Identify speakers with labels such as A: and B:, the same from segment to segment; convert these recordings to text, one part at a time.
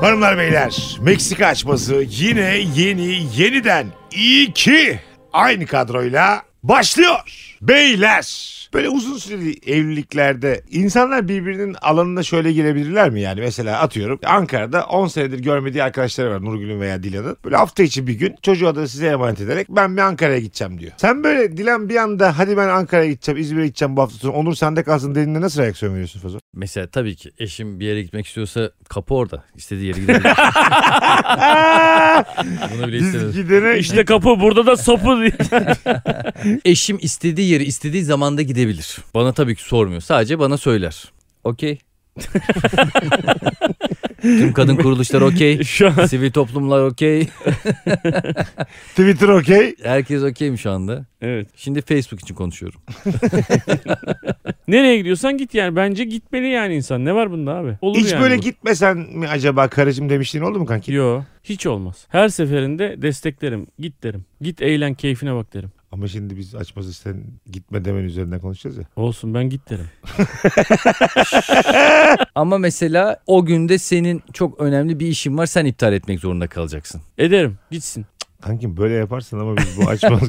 A: Hanımlar beyler Meksika açması yine yeni yeniden iyi ki aynı kadroyla başlıyor. Beyler böyle uzun süreli evliliklerde insanlar birbirinin alanına şöyle girebilirler mi yani? Mesela atıyorum Ankara'da 10 senedir görmediği arkadaşları var Nurgül'ün veya Dilan'ın. Böyle hafta içi bir gün çocuğa da size emanet ederek ben bir Ankara'ya gideceğim diyor. Sen böyle Dilan bir anda hadi ben Ankara'ya gideceğim İzmir'e gideceğim bu hafta sonu Onur sende kalsın dediğinde nasıl reaksiyon veriyorsun Fazo?
B: Mesela tabii ki eşim bir yere gitmek istiyorsa kapı orada. İstediği yere gidebilir. Bunu bile
A: Biz
B: istemez.
A: gidene
C: İşte kapı burada da sapı diye.
B: Eşim istediği yeri istediği zamanda gidebilir. Bana tabii ki sormuyor. Sadece bana söyler. Okey. Tüm kadın kuruluşları okey.
C: Şu an
B: Sivil toplumlar okey.
A: Twitter okey.
B: Herkes okey mi şu anda?
C: evet.
B: Şimdi Facebook için konuşuyorum.
C: Nereye gidiyorsan git yani. Bence gitmeli yani insan. Ne var bunda abi? Olur
A: Hiç
C: yani
A: böyle
C: bu.
A: gitmesen mi acaba karıcığım demiştin oldu mu kanki?
C: Yo. Hiç olmaz. Her seferinde desteklerim. Git derim. Git eğlen keyfine bak derim.
A: Ama şimdi biz açmaz isten gitme demen üzerinden konuşacağız ya.
C: Olsun ben git derim.
B: Ama mesela o günde senin çok önemli bir işin var. Sen iptal etmek zorunda kalacaksın.
C: Ederim. Gitsin.
A: Kankim böyle yaparsan ama biz bu açmaz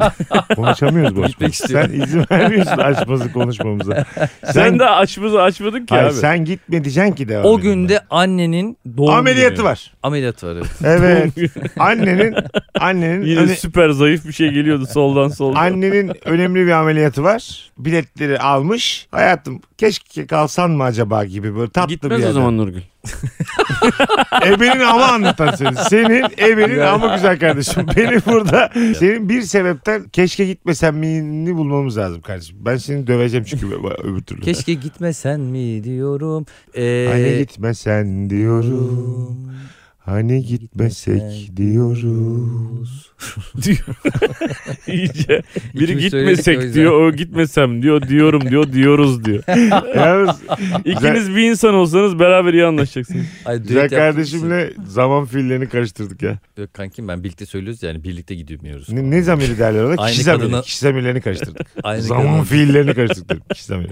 A: konuşamıyoruz bu
B: Gitmek
A: açmazı. Sen
B: istiyorum.
A: izin vermiyorsun açmazı konuşmamıza. Sen,
C: Sen, de açmazı açmadın ki
A: Hayır,
C: abi.
A: sen gitme diyeceksin ki devam
B: O
A: edin
B: günde annenin
A: ben.
B: doğum
A: ameliyatı
B: günü.
A: var.
B: Ameliyatı var. evet.
A: Evet. annenin annenin
C: Yine
A: öne-
C: süper zayıf bir şey geliyordu soldan soldan.
A: annenin önemli bir ameliyatı var. Biletleri almış. Hayatım keşke kalsan mı acaba gibi böyle tatlı bir
C: Gitmez o
A: yerden.
C: zaman Nurgül.
A: Ebenin ama anlatan seni. Senin ebenin ama güzel kardeşim. Beni burada senin bir sebepten keşke gitmesen miyini bulmamız lazım kardeşim. Ben seni döveceğim çünkü ö- öbür türlü.
B: Keşke gitmesen mi diyorum. Ee,
A: Hani gitmesen diyorum. Hani gitmesek
B: Gitmesek
A: diyoruz.
C: İyice. Biri
B: İkimiz söyledik o
C: gitmesek
B: yüzden.
C: diyor, o gitmesem diyor, diyorum diyor, diyoruz diyor.
A: Yalnız
C: İkiniz bir insan olsanız beraber iyi anlaşacaksınız.
B: Ay, düet
A: güzel
B: yaptık
A: kardeşimle zaman fiillerini karıştırdık ya.
B: biz. Yok kankim ben birlikte söylüyoruz yani birlikte gidiyoruz.
A: Ne, ne zamiri derler ona?
B: Aynı
A: Kişi zamiri.
B: kadına-
A: Kişi zamirlerini karıştırdık.
B: Aynı
A: Zaman
B: kadın.
A: fiillerini karıştırdık. dedim. Kişi zamiri.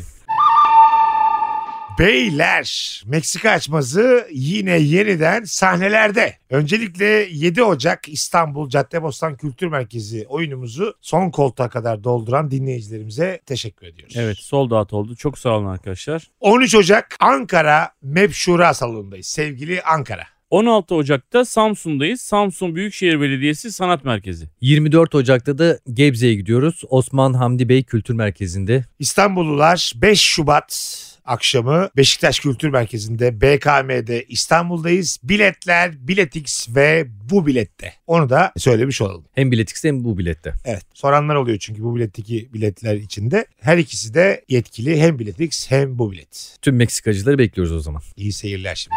A: Beyler Meksika açması yine yeniden sahnelerde. Öncelikle 7 Ocak İstanbul Caddebostan Kültür Merkezi oyunumuzu son koltuğa kadar dolduran dinleyicilerimize teşekkür ediyoruz.
C: Evet sol dağıt oldu. Çok sağ olun arkadaşlar.
A: 13 Ocak Ankara MEP Şura salonundayız. Sevgili Ankara.
C: 16 Ocak'ta Samsun'dayız. Samsun Büyükşehir Belediyesi Sanat Merkezi.
B: 24 Ocak'ta da Gebze'ye gidiyoruz. Osman Hamdi Bey Kültür Merkezi'nde.
A: İstanbullular 5 Şubat akşamı Beşiktaş Kültür Merkezi'nde BKM'de İstanbul'dayız. Biletler, Biletix ve bu bilette. Onu da söylemiş olalım.
B: Hem biletikste hem bu bilette.
A: Evet. Soranlar oluyor çünkü bu biletteki biletler içinde. Her ikisi de yetkili hem Biletix hem bu bilet.
B: Tüm Meksikacıları bekliyoruz o zaman.
A: İyi seyirler şimdi.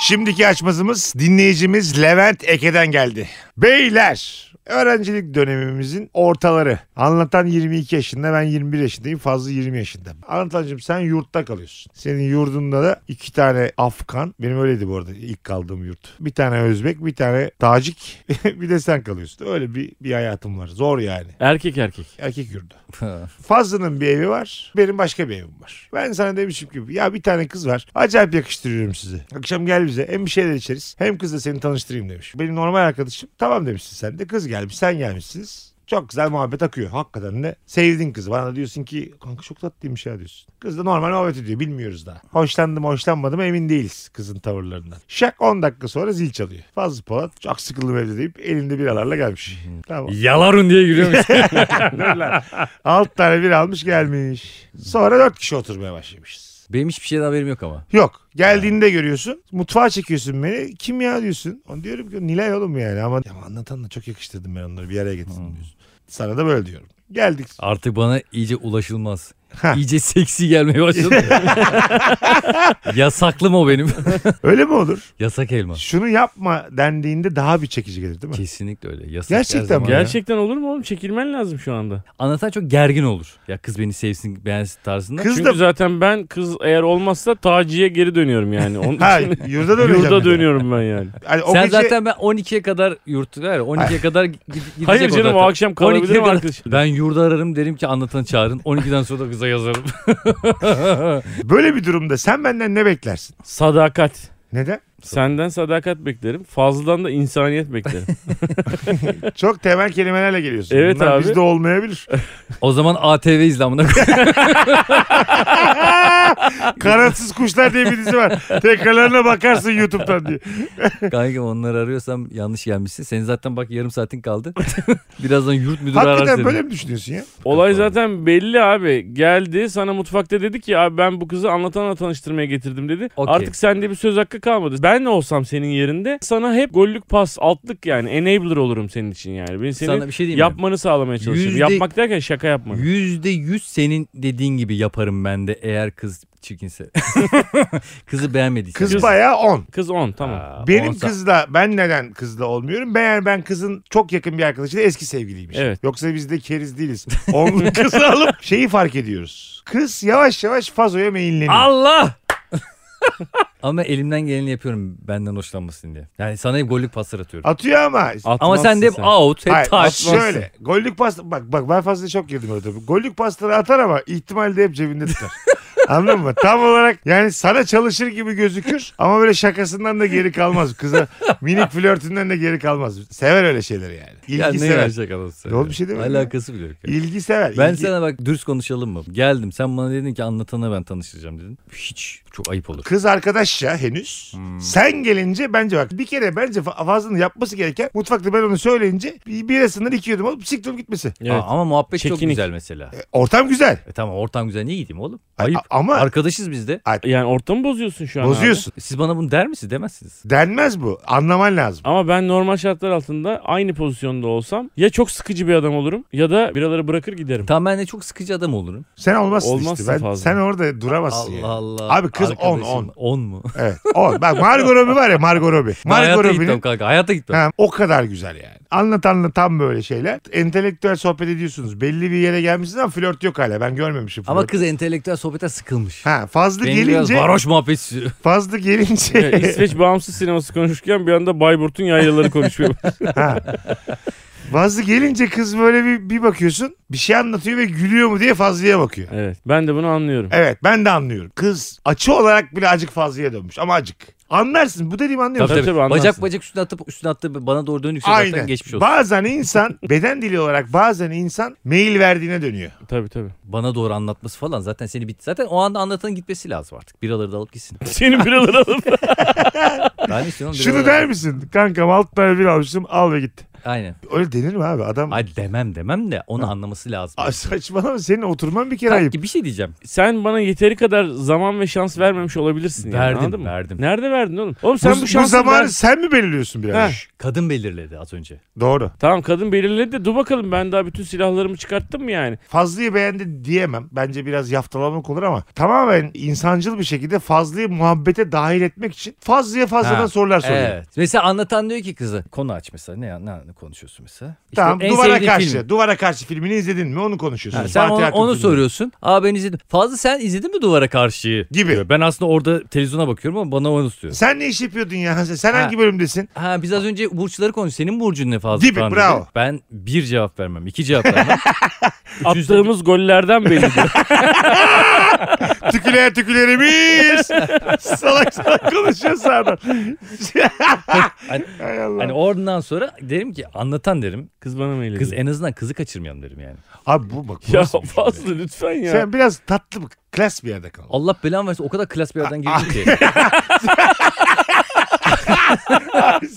A: Şimdiki açmazımız dinleyicimiz Levent Eke'den geldi. Beyler öğrencilik dönemimizin ortaları. Anlatan 22 yaşında ben 21 yaşındayım fazla 20 yaşında. Anlatancığım sen yurtta kalıyorsun. Senin yurdunda da iki tane Afgan benim öyleydi bu arada ilk kaldığım yurt. Bir tane Özbek bir tane Tacik bir de sen kalıyorsun. Öyle bir, bir hayatım var zor yani.
C: Erkek erkek.
A: Erkek yurdu. Fazlı'nın bir evi var. Benim başka bir evim var. Ben sana demişim ki ya bir tane kız var. Acayip yakıştırıyorum sizi. Akşam gel bize. Hem bir şeyler içeriz. Hem kızla seni tanıştırayım demiş. Benim normal arkadaşım tamam demişsin sen de. Kız gelmiş sen gelmişsiniz. Çok güzel muhabbet akıyor. Hakikaten de sevdin kızı. Bana da diyorsun ki kanka çok tatlıymış ya diyorsun. Kız da normal muhabbet ediyor. Bilmiyoruz daha. Hoşlandım hoşlanmadım emin değiliz kızın tavırlarından. Şak 10 dakika sonra zil çalıyor. Fazlı Polat çok sıkıldım evde deyip elinde biralarla gelmiş. tamam.
B: Yalarun diye giriyormuş.
A: Alt tane bir almış gelmiş. Sonra dört kişi oturmaya başlamışız.
B: Benim hiçbir şeyden haberim yok ama.
A: Yok. Geldiğinde görüyorsun. Mutfağa çekiyorsun beni. Kim ya diyorsun. Onu diyorum ki Nilay oğlum yani. Ama, ama anlatanla çok yakıştırdım ben onları. Bir araya getirdim
C: Hmm.
A: diyorsun. Sana da böyle diyorum. Geldik.
B: Artık bana iyice ulaşılmaz.
A: Ha.
B: İyice seksi gelmeye başladı. Yasaklım o benim.
A: Öyle mi olur?
B: Yasak elma.
A: Şunu yapma dendiğinde daha bir çekici gelir değil mi?
B: Kesinlikle öyle. Yasak
A: Gerçekten
B: her zaman
A: mi?
B: ya.
C: Gerçekten olur mu oğlum? Çekilmen lazım şu anda.
B: Anlatan çok gergin olur. Ya kız beni sevsin beğensin tarzında.
A: Kız
C: Çünkü
A: da...
C: zaten ben kız eğer olmazsa taciye geri dönüyorum yani. Onun
A: Ha
C: için
A: yurda döneceğim.
C: yurda
A: bir de.
C: dönüyorum ben yani.
A: Hani o
B: Sen
A: gece-
B: zaten ben 12'ye kadar yurt var ya, 12'ye kadar gi- gidecek
C: Hayır canım o
B: zaten.
C: akşam kalabilirim
B: 12'ye kadar-
C: arkadaşım.
B: Ben yurda ararım derim ki anlatan çağırın. 12'den sonra da kıza yazarım.
A: Böyle bir durumda sen benden ne beklersin?
C: Sadakat.
A: Neden?
C: Senden sadakat beklerim. Fazladan da insaniyet beklerim.
A: Çok temel kelimelerle geliyorsun.
C: Evet
A: Bunlar
C: abi.
A: Bizde olmayabilir.
B: O zaman ATV izlamına
A: Kanatsız Kuşlar diye bir dizi var. Tekrarlarına bakarsın YouTube'dan diye.
B: Kanka onları arıyorsam yanlış gelmişsin. Senin zaten bak yarım saatin kaldı. Birazdan yurt müdürü arar
A: Hakikaten
B: seni.
A: böyle mi düşünüyorsun ya?
C: Olay zaten belli abi. Geldi sana mutfakta dedi ki abi ben bu kızı anlatanla tanıştırmaya getirdim dedi.
B: Okey.
C: Artık sende bir söz hakkı kalmadı. Ben olsam senin yerinde sana hep gollük pas altlık yani enabler olurum senin için yani. Ben seni
B: Sana bir şey diyeyim mi?
C: yapmanı sağlamaya çalışırım.
B: Yüzde-
C: Yapmak derken şaka yapmanı.
B: Yüzde yüz senin dediğin gibi yaparım ben de eğer kız çirkinse. Kızı beğenmediysen.
A: Kız
B: Yani.
A: bayağı 10.
C: Kız 10 tamam.
B: Aa,
A: Benim
B: onsa-
A: kızla ben neden kızla olmuyorum? Meğer ben kızın çok yakın bir arkadaşıyla eski sevgiliymiş.
C: Evet.
A: Yoksa biz de keriz değiliz. Onun kızı alıp şeyi fark ediyoruz. Kız yavaş yavaş fazoya meyilleniyor.
B: Allah! Ama elimden geleni yapıyorum benden hoşlanmasın diye. Yani sana hep gollük paslar atıyorum.
A: Atıyor ama.
B: Ama sen de hep out, hep
A: Hayır,
B: touch.
A: at- şöyle. Gollük pasta bak bak ben fazla çok girdim orada. Gollük pastaları atar ama ihtimalde hep cebinde tutar. Anladın mı? Tam olarak yani sana çalışır gibi gözükür ama böyle şakasından da geri kalmaz. Kıza minik flörtünden de geri kalmaz. Sever öyle şeyleri yani. İlgi
B: Ya ne
A: sever.
B: verecek adam sana?
A: Ne oğlum bir şey demedim ya.
B: Alakası bile yok. ya.
A: İlgi sever.
B: Ben
A: ilgi-
B: sana bak dürüst konuşalım mı? Geldim sen bana dedin ki anlatana ben tanıştıracağım dedin. Hiç çok ayıp olur.
A: Kız arkadaş ya henüz.
B: Hmm.
A: Sen gelince bence bak bir kere bence fa- fazlının yapması gereken mutfakta ben onu söyleyince bir birasından iki yudum alıp siktim gitmesi.
C: Evet.
B: Aa, ama muhabbet çok
C: Çekinik.
B: güzel mesela.
A: E, ortam güzel.
B: E tamam ortam güzel niye gideyim oğlum?
A: Ay-
B: Ayıp.
A: ama
B: Arkadaşız biz de.
C: Yani ortamı bozuyorsun şu an abi.
A: bozuyorsun.
B: Siz bana bunu der misiniz? Demezsiniz.
A: Denmez bu. Anlaman lazım.
C: Ama ben normal şartlar altında aynı pozisyonda olsam ya çok sıkıcı bir adam olurum ya da biraları bırakır giderim.
B: Tamam ben de çok sıkıcı adam olurum.
A: Sen olmazsın
C: Olmazsın
A: işte. Ben,
C: fazla.
A: Sen orada duramazsın
B: Allah
A: yani.
B: Allah.
A: Abi kız on,
B: Arkadaşım-
A: on.
B: 10 mu?
A: Evet. O, bak Margot Robbie var ya Margot Robbie.
B: Ben hayata
A: Margot
B: gitmem
A: Robbie'nin
B: kanka hayata gitmem.
A: Ha, o kadar güzel yani. Anlat anlat tam böyle şeyler. Entelektüel sohbet ediyorsunuz. Belli bir yere gelmişsiniz ama flört yok hala. Ben görmemişim flört.
B: Ama kız entelektüel sohbete sıkılmış.
A: Ha, fazla
B: Benim biraz
A: gelince
B: varoş muhabbet istiyor.
A: fazla
C: Ya,
A: gelince
C: İsveç bağımsız sineması konuşurken bir anda Bayburt'un yaylaları konuşuyor.
A: fazla gelince kız böyle bir, bir bakıyorsun bir şey anlatıyor ve gülüyor mu diye fazlaya bakıyor.
C: evet. Ben de bunu anlıyorum.
A: Evet ben de anlıyorum. Kız açı olarak bile acık fazlaya dönmüş ama acık. Anlarsın bu dediğimi anlıyor
C: Tabii,
A: musun?
C: tabii, anlarsın.
B: bacak bacak üstüne atıp üstüne attı bana doğru dönük şey zaten
A: Aynen.
B: geçmiş olsun.
A: Bazen insan beden dili olarak bazen insan mail verdiğine dönüyor.
C: Tabii tabii.
B: Bana doğru anlatması falan zaten seni bitti. Zaten o anda anlatanın gitmesi lazım artık. Biraları da alıp gitsin.
C: Senin biraları alıp.
B: Ben istiyorum
A: Şunu
B: biraları-
A: der misin? Kankam alt tane bir almıştım al ve git.
B: Aynen.
A: Öyle denir mi abi? Adam
B: Ay demem demem de onu anlaması lazım.
A: Aa, saçmalama senin oturman bir kere ayıp.
B: Kanki bir şey diyeceğim.
C: Sen bana yeteri kadar zaman ve şans vermemiş olabilirsin. yani,
B: Verdim,
C: anladın mı?
B: verdim.
C: Nerede verdin oğlum? Oğlum
A: Bu,
C: sen bu,
A: bu
C: şansı
A: zamanı
C: ver-
A: sen mi belirliyorsun biraz?
C: Heh.
B: Kadın belirledi az önce.
A: Doğru.
C: Tamam kadın belirledi de dur bakalım ben daha bütün silahlarımı çıkarttım mı yani?
A: Fazlıyı beğendi diyemem. Bence biraz yaftalamak olur ama tamamen insancıl bir şekilde Fazlıyı muhabbete dahil etmek için Fazlı'ya fazladan
B: Ha,
A: sorular soruyor.
B: Evet. Mesela anlatan diyor ki kızı konu aç mesela. Ne, ne, ne konuşuyorsun mesela? İşte
A: Tamam
B: en
A: duvara
B: sevdiği
A: karşı.
B: film.
A: Duvara karşı filmini izledin mi onu konuşuyorsun.
B: Ha, sen
A: Fatih
B: onu,
A: Akın
B: onu
A: filmi.
B: soruyorsun. Aa ben izledim. Fazla sen izledin mi duvara karşıyı?
A: Gibi.
B: Diyor. Ben aslında orada televizyona bakıyorum ama bana onu istiyor.
A: Sen ne iş yapıyordun ya? Sen
B: Ha.
A: hangi bölümdesin?
B: Ha biz az önce burçları konuştuk. Senin burcun ne fazla?
A: Gibi,
B: falan dedi.
A: bravo.
B: Ben bir cevap vermem. iki cevap vermem. Üçüncüsü-
C: Attığımız gollerden belli diyor.
A: Tüküler tükülerimiz. salak salak konuşuyor sağdan.
B: Hani-
A: Hay Allah.
B: Hani oradan sonra derim ki anlatan derim.
C: Kız bana mı
B: Kız en azından kızı kaçırmayalım derim yani.
A: Abi bu bak. bu
C: Ya
A: nasıl bir şey
C: fazla lütfen
A: ya?
C: ya.
A: Sen biraz tatlı bir klas bir yerde kal.
B: Allah belanı versin o kadar klas bir yerden girdin ki.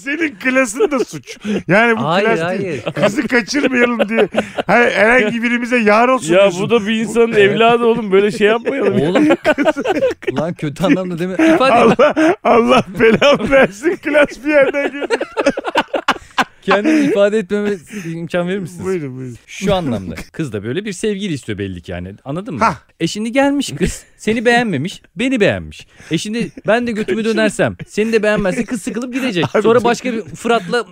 A: Senin klasın da suç. Yani bu
B: Hayır,
A: klas değil.
B: hayır.
A: Kızı kaçırmayalım diye. Hayır, herhangi birimize yar olsun
C: Ya
A: diyorsun.
C: bu da bir insanın evladı oğlum böyle şey yapmayalım.
B: Oğlum lan kötü anlamda değil mi? İfade
A: Allah, Allah belamı versin klas bir yerden girdim.
B: kendimi ifade etmeme imkan verir misiniz?
A: buyurun buyurun.
B: Şu anlamda. Kız da böyle bir sevgili istiyor belli ki yani. Anladın mı?
A: Hah.
B: E şimdi gelmiş kız. Seni beğenmemiş. Beni beğenmiş. E şimdi ben de götümü dönersem. Seni de beğenmezse kız sıkılıp gidecek.
A: Abi
B: Sonra
A: dur.
B: başka bir Fırat'la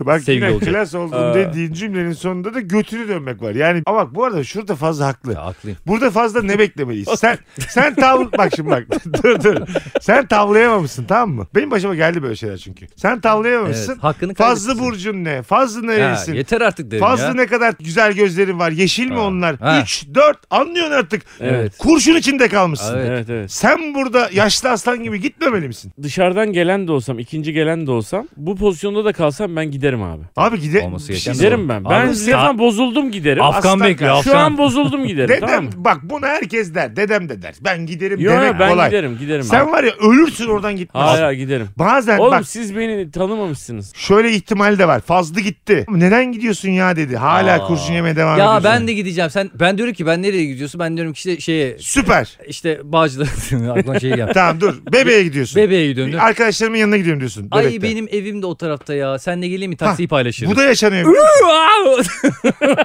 A: Bak
B: sevgili
A: yine
B: olacak.
A: klas oldum
B: Aa.
A: dediğin cümlenin sonunda da götünü dönmek var. Yani ama bak bu arada şurada fazla haklı.
B: Ya, haklıyım.
A: Burada fazla ne beklemeliyiz? Sen sen tav bak şimdi bak dur dur. Sen tavlayamamışsın tamam mı? Benim başıma geldi böyle şeyler çünkü. Sen tavlayamamışsın.
B: Evet, hakkını
A: Fazlı
B: kaybetmişsin.
A: burcun ne? Fazla
B: Ya,
A: nerelisin?
B: yeter artık derim
A: Fazla
B: ya.
A: ne kadar güzel gözlerin var. Yeşil mi
B: Ha.
A: onlar?
B: Ha.
A: 3 4 anlıyorsun artık.
B: Evet.
A: Kurşun içinde kalmışsın.
B: Evet.
C: Evet evet.
A: Sen burada yaşlı aslan gibi gitmemeli misin?
C: Dışarıdan gelen de olsam, ikinci gelen de olsam bu pozisyonda da kalsam ben giderim abi.
A: Abi gide
B: Olması
A: Bir şey
B: gereken
A: diyeceğim.
C: Giderim ben.
B: Abi,
C: Ben
B: Sa-
C: zaten bozuldum giderim.
B: Afgan
A: Aslan
B: bekliyor
A: kardeşim.
C: Şu
B: Afgan.
C: an bozuldum giderim tamam
A: Dedem
C: mı?
A: bak bunu herkes der. Dedem de der. Ben giderim
C: Yo,
A: demek
C: ben
A: kolay.
C: giderim giderim. abi.
A: Sen var ya ölürsün oradan gitmez.
C: Hayır hayır, giderim.
A: Bazen
C: Oğlum
A: bak
C: siz beni tanımamışsınız.
A: şöyle ihtimal de var. Fazlı gitti. Neden gidiyorsun ya dedi. Hala
B: Aa.
A: kurşun yemeye devam ediyorsun.
B: Ya ben de gideceğim. Sen ben diyorum ki ben nereye gidiyorsun? Ben diyorum ki işte şeye
A: Süper.
B: işte Bağcılar aklıma şey geldi.
A: Tamam dur. Bebeğe gidiyorsun.
B: Bebeğe gidiyorum. değil mi?
A: Arkadaşlarımın yanına gidiyorum diyorsun.
B: Ay
A: bebekte.
B: benim evim de o tarafta ya. Sen de geleyim mi taksiyi paylaşırız.
A: Bu da yaşanıyor.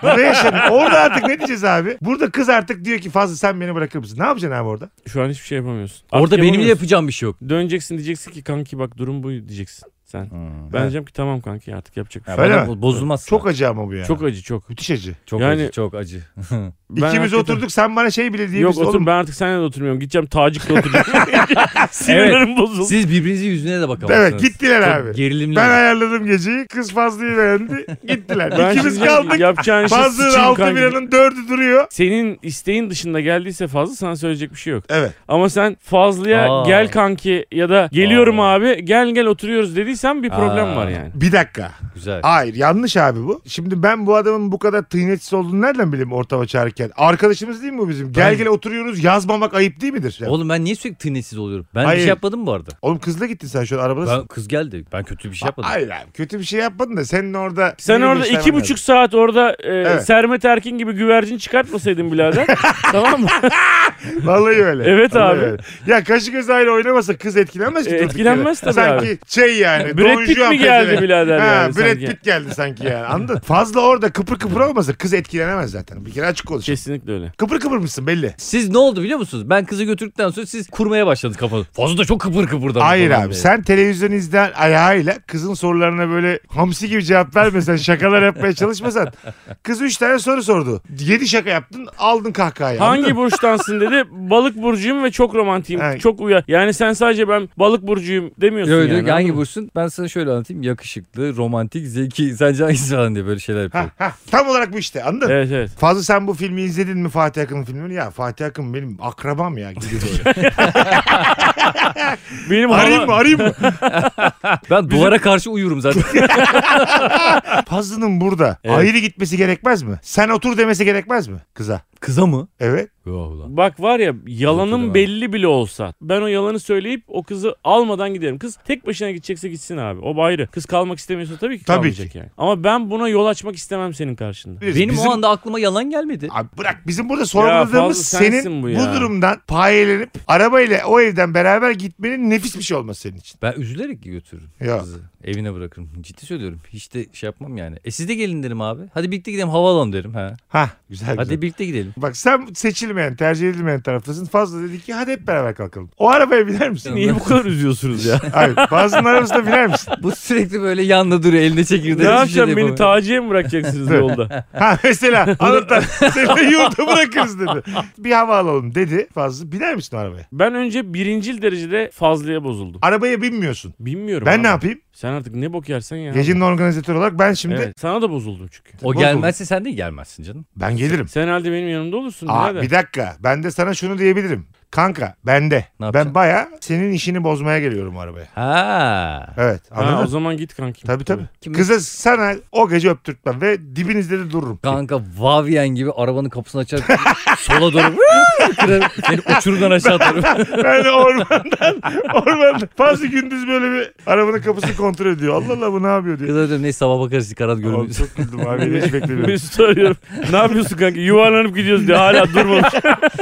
A: Bu da yaşanıyor. Orada artık ne diyeceğiz abi? Burada kız artık diyor ki fazla sen beni bırakır mısın? Ne yapacaksın abi orada?
C: Şu an hiçbir şey yapamıyorsun.
B: Orada
C: Artık
B: benim de
C: yapamıyorsun.
B: yapacağım bir şey yok.
C: Döneceksin diyeceksin ki kanki bak durum bu diyeceksin sen.
A: Hmm.
C: Ben diyeceğim ki tamam kanki artık yapacak bir şey.
B: Ya
C: yok.
A: Öyle
B: bana
A: mi?
B: bo- Bozulmaz.
A: Çok acı ama bu ya.
C: Çok acı çok.
A: Müthiş acı.
B: çok
C: yani-
B: acı, çok acı.
C: Ben
A: İkimiz
C: hakikaten-
A: oturduk sen bana şey bile
C: Yok
A: diyebilirsin.
C: otur
A: oğlum.
C: ben artık seninle de oturmuyorum. Gideceğim Tacik'le oturacağım. Sinirlerim bozuldu.
B: Siz birbirinizin yüzüne de bakamazsınız.
A: Evet gittiler
B: Çok
A: abi.
B: Gerilimli.
A: Ben ayarladım geceyi. Kız Fazlı'yı beğendi. Gittiler.
C: Ben
A: İkimiz
C: şimdi
A: kaldık.
C: Yapacağın şey
A: Fazlı'nın
C: sıçayım
A: altı
C: kanki.
A: biranın dördü duruyor.
C: Senin isteğin dışında geldiyse fazla sana söyleyecek bir şey yok.
A: Evet.
C: Ama sen fazlaya
B: Aa.
C: gel kanki ya da geliyorum
B: Aa.
C: abi gel gel oturuyoruz dediysen bir problem
B: Aa.
C: var yani.
A: Bir dakika.
B: Güzel.
A: Hayır yanlış abi bu. Şimdi ben bu adamın bu kadar tıynetsiz olduğunu nereden bileyim ortama çağırırken? Arkadaşımız değil mi bu bizim? Gel
B: Ben-
A: gel oturuyoruz yazmamak ayıp değil midir? Yani-
B: Oğlum ben niye sürekli tınesiz oluyorum? Ben bir
A: Hayır.
B: şey yapmadım bu arada.
A: Oğlum kızla gittin sen şu an arabada.
B: Ben, kız geldi. Ben kötü bir şey yapmadım.
A: Hayır abi kötü bir şey yapmadın da senin orada...
C: Sen
A: sinir
C: orada iki
A: göstermen
C: buçuk saat orada e,
A: Evet.
C: Sermet Erkin gibi güvercin çıkartmasaydın birader. tamam mı?
A: lazım. Vallahi öyle.
C: Evet
A: Vallahi
C: abi.
A: öyle. Ya kaşı göz ayrı oynamasa kız etkilenmez ki.
C: E,
A: durduk yere.
C: etkilenmez tabii
A: Sanki şey yani.
C: Brad
A: Don
C: Pitt
A: Juan
C: mi geldi
A: pezevenk.
C: birader
A: Ha,
C: yani
A: Brad
C: sanki?
A: Pitt geldi sanki yani anladın? Fazla orada kıpır kıpır olmasa kız etkilenemez zaten. Bir kere açık konuşalım.
C: Kesinlikle öyle.
A: Kıpır kıpır mısın belli.
B: Siz ne oldu biliyor musunuz? Ben kızı götürdükten sonra siz kurmaya başladık kafanızı. Fazla da çok kıpır kıpırdadı.
A: Hayır
B: falan
A: abi
B: diye.
A: sen televizyon izleyen ayağıyla kızın sorularına böyle hamsi gibi cevap vermesen şakalar yapmaya çalışmasan. Kız 3 tane soru sordu. 7 şaka yaptın aldın kahkahayı. anladın
C: Hangi
A: mı?
C: burçtansın dedi. Balık burcuyum ve çok romantiyim.
A: Evet.
C: Çok uyar. Yani sen sadece ben balık burcuyum demiyorsun
B: Yok,
C: yani.
B: diyor ki,
C: anladın
B: hangi
C: mı?
B: burçsun? Ben sana şöyle anlatayım. Yakışıklı, romantik, zeki. Sence hangisi falan diye böyle şeyler
A: Ha,
B: yapıyor.
A: ha, tam olarak bu işte anladın mı?
C: Evet evet.
A: Fazla sen bu filmi izledin mi Fatih Akın filmini? Ya Fatih Akın benim akrabam ya. Gibi böyle.
C: Benim
A: arayayım mı
C: hala...
A: arayayım mı?
B: Ben duvara karşı uyurum zaten.
A: Fazlı'nın burada
C: Evet.
A: ayrı gitmesi gerekmez mi? Sen otur demesi gerekmez mi kıza?
B: Kıza mı?
A: Evet.
B: Yok ulan.
C: Bak var ya
B: Yok,
C: yalanım
B: yok.
C: belli bile olsa ben o yalanı söyleyip o kızı almadan giderim. Kız tek başına gidecekse gitsin abi. O ayrı. Kız kalmak istemiyorsa tabii ki
A: Tabii
C: kalmayacak
A: ki.
C: yani. Ama ben buna yol açmak istemem senin karşında.
B: Benim
A: Bizim-
B: o anda aklıma yalan gelmedi.
A: Abi bırak bizim burada sorguladığımız
C: Fazlı sensin
A: senin bu,
C: bu ya.
A: durumdan payelenip arabayla o evden beraber gitmenin nefis bir şey olması senin için.
B: Ben üzülerek götürürüm
A: Ya.
B: kızı. Evine bırakırım. Ciddi söylüyorum. Hiç de şey yapmam yani. E siz de gelin derim abi. Hadi birlikte gidelim havaalanı derim. Ha.
A: Ha güzel güzel.
B: Hadi birlikte gidelim.
A: Bak sen seçilmeyen, tercih edilmeyen taraftasın. Fazla dedi ki hadi hep beraber kalkalım. O arabaya biner misin?
C: Niye bu kadar üzüyorsunuz ya?
A: Hayır. Fazla'nın arabasına biner misin?
B: Bu sürekli böyle yanında duruyor. Eline çekirdeği.
C: ne
B: hiçbir şey de
C: yapacağım beni
B: yapamıyor.
C: taciye mi bırakacaksınız
A: Evet.
C: yolda?
A: Ha mesela anahtar seni yurda bırakırız dedi. Bir hava alalım dedi Fazla. Biner misin o arabaya?
C: Ben önce birincil derecede fazlaya bozuldum.
A: Arabaya binmiyorsun.
C: Bilmiyorum
A: Ben
C: abi.
A: ne yapayım?
C: Sen artık ne bok yersen ya.
A: Gecenin organizatörü olarak ben şimdi
C: Evet, sana da bozuldum çünkü.
B: O gelmezse sen de gelmezsin canım.
A: ben gelirim.
C: Sen herhalde benim yanımda olursun.
A: Aa,
C: birader.
A: bir dakika. Ben de sana şunu diyebilirim. Kanka ben de.
B: Ne
A: Ben
B: yapacaksın?
A: baya senin işini bozmaya geliyorum arabaya.
B: Ha.
A: Evet.
C: Ha, o
A: Anladın?
C: zaman git kankim.
A: Tabii tabii.
B: Kimin-
A: Kıza sana o gece öptürtmem ve dibinizde de dururum.
B: Kanka Vavyen gibi arabanın kapısını açar sola doğru kırarım. Seni uçurumdan aşağı atarım.
A: Ben de ormandan, ormandan. Fazla gündüz böyle bir arabanın kapısını kontrol ediyor. Allah Allah bu ne yapıyor diyor.
B: Kıza diyorum neyse sabah bakarız karat
A: Oğlum
B: görürüz.
A: çok güldüm abi. Hiç beklemiyorum.
C: Mesut arıyorum. ne yapıyorsun kanki? Yuvarlanıp gidiyoruz diye hala durmamış.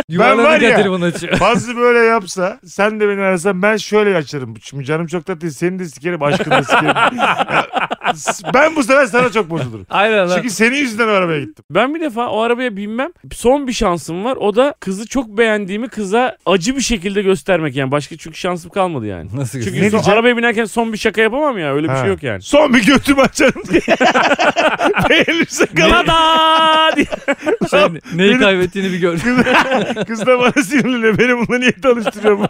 B: Yuvarlanır
A: var
B: ya
A: ya-
B: telefonu açıyor.
A: Fazla böyle yapsa sen de beni arasan ben şöyle açarım. Şimdi canım çok tatlı seni de sikerim aşkını da sikerim. ben bu sefer sana çok bozulurum.
B: Aynen lan.
A: Çünkü senin yüzünden o arabaya gittim.
C: Ben bir defa o arabaya binmem. Son bir şansım var. O da kızı çok çok beğendiğimi kıza acı bir şekilde göstermek yani. Başka çünkü şansım kalmadı yani.
B: Nasıl
C: Çünkü
A: Ne
C: son,
A: diyeceğim?
C: arabaya binerken son bir şaka yapamam ya. Öyle bir
A: Ha.
C: şey yok yani.
A: Son bir götümü açarım diye. Beğenirse kalan.
C: Tada diye.
B: Sen neyi kaybettiğini bir gör.
A: Kız da bana sinirleniyor. Beni bununla niye tanıştırıyor bu